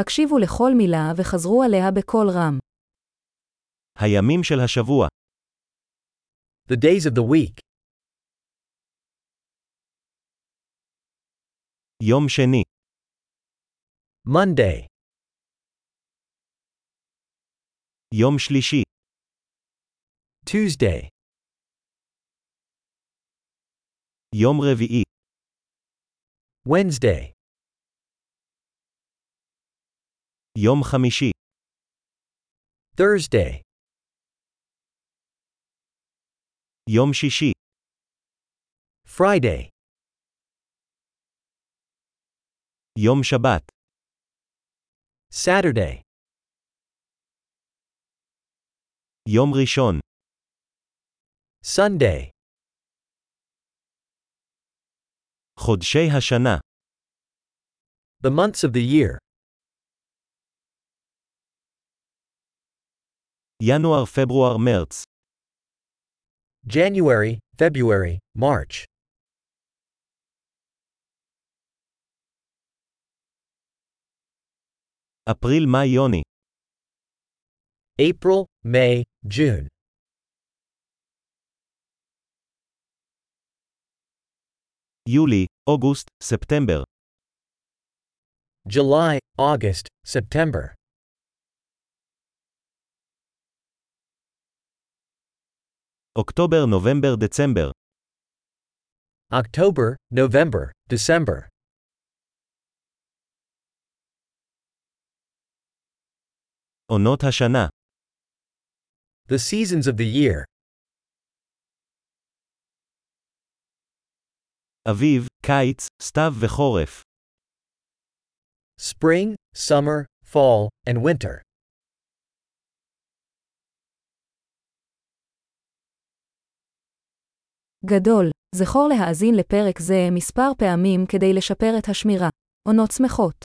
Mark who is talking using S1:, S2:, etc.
S1: הקשיבו לכל מילה וחזרו עליה בקול רם.
S2: הימים של השבוע,
S3: The days of the week.
S2: יום שני,
S3: Monday.
S2: יום שלישי,
S3: Tuesday.
S2: יום רביעי,
S3: Wednesday.
S2: יום חמישי,
S3: Thursday.
S2: יום שישי,
S3: Friday.
S2: יום שבת,
S3: Saturday.
S2: יום ראשון,
S3: Sunday.
S2: חודשי השנה,
S3: The months of the year.
S2: ינואר, פברואר, מרץ,
S3: January, February, March.
S2: אפריל, מאי, יוני,
S3: April, May, June.
S2: יולי, אוגוסט, ספטמבר,
S3: July, August, September.
S2: אוקטובר, נובמבר, דצמבר,
S3: October, November, December.
S2: עונות השנה,
S3: The seasons of the year.
S2: אביב, קיץ, סתיו וחורף,
S3: Spring, summer, fall, and winter.
S1: גדול, זכור להאזין לפרק זה מספר פעמים כדי לשפר את השמירה. עונות שמחות